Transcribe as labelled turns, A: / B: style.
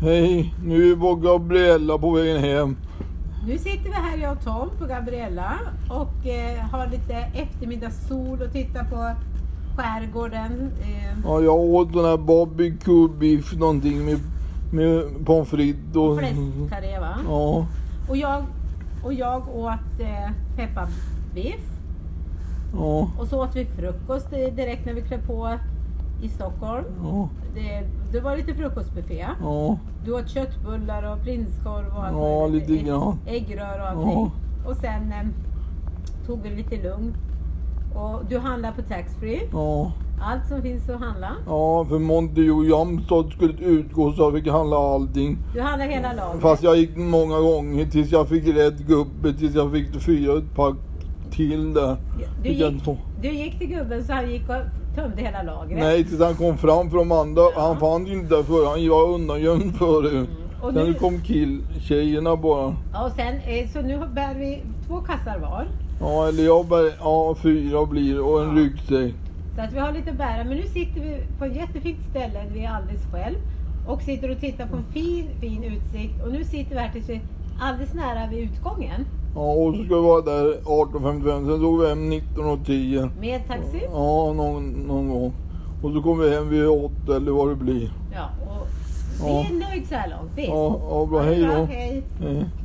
A: Hej, nu var Gabriella på vägen hem.
B: Nu sitter vi här jag och Tom på Gabriella och eh, har lite eftermiddagssol och tittar på skärgården. Eh,
A: Ja, jag åt den här barbecue beef någonting med, med pommes frites och...
B: och fläskkarré va?
A: Mm. Ja.
B: Och jag, och jag åt eh, pepparbiff
A: Ja.
B: och så åt vi frukost eh, direkt när vi klev på i Stockholm.
A: Ja.
B: Det, det var lite frukostbuffé.
A: Ja.
B: Du åt köttbullar och prinskorv och allt
A: Ja,
B: möjligt.
A: lite grann.
B: Äggrör och
A: Ja.
B: allting. Och sen eh, tog vi det lite lugnt. Och du handlar på taxfree.
A: Ja.
B: Allt som finns att handla.
A: Ja, för Montejo Jamstad skulle utgå så jag fick handla allting.
B: Du handlar hela laget.
A: Mm. Fast jag gick många gånger tills jag fick rätt gubbe, tills jag fick fyra ett pack till där.
B: du,
A: Fick jag
B: gick,
A: två.
B: du gick till gubben så han gick och tömde hela lagret.
A: Nej, tills han kom fram för de andra. Han fanns ju inte där förut. Han var undangömd förut.
B: Och
A: Sen
B: nu-
A: kom kill, tjejerna bara.
B: Ja, Och sen, eh, så nu bär vi två kassar var.
A: Ja, eller jag bär, ja, fyra blir det, och en
B: Ja.
A: ryggsäck.
B: Så att vi har lite att bära. Men nu sitter vi på ett jättefint ställe. Vi är alldeles själv. Och sitter och tittar på en fin, fin utsikt. Och nu sitter vi här tills vi är alldeles nära vid utgången.
A: Ja, och så ska vi vara där 18.55. Sen såg vi hem 19.10.
B: Med taxi.
A: Ja, någon, någon gång. Och så kom vi hem vid 8 eller vad det blir.
B: Ja, och
A: Ja.
B: vi är nöjda så här långt. Det är
A: Ja,
B: så.
A: ja bra.
B: Ha det
A: Hej
B: bra,
A: då.
B: Hej.
A: Hej.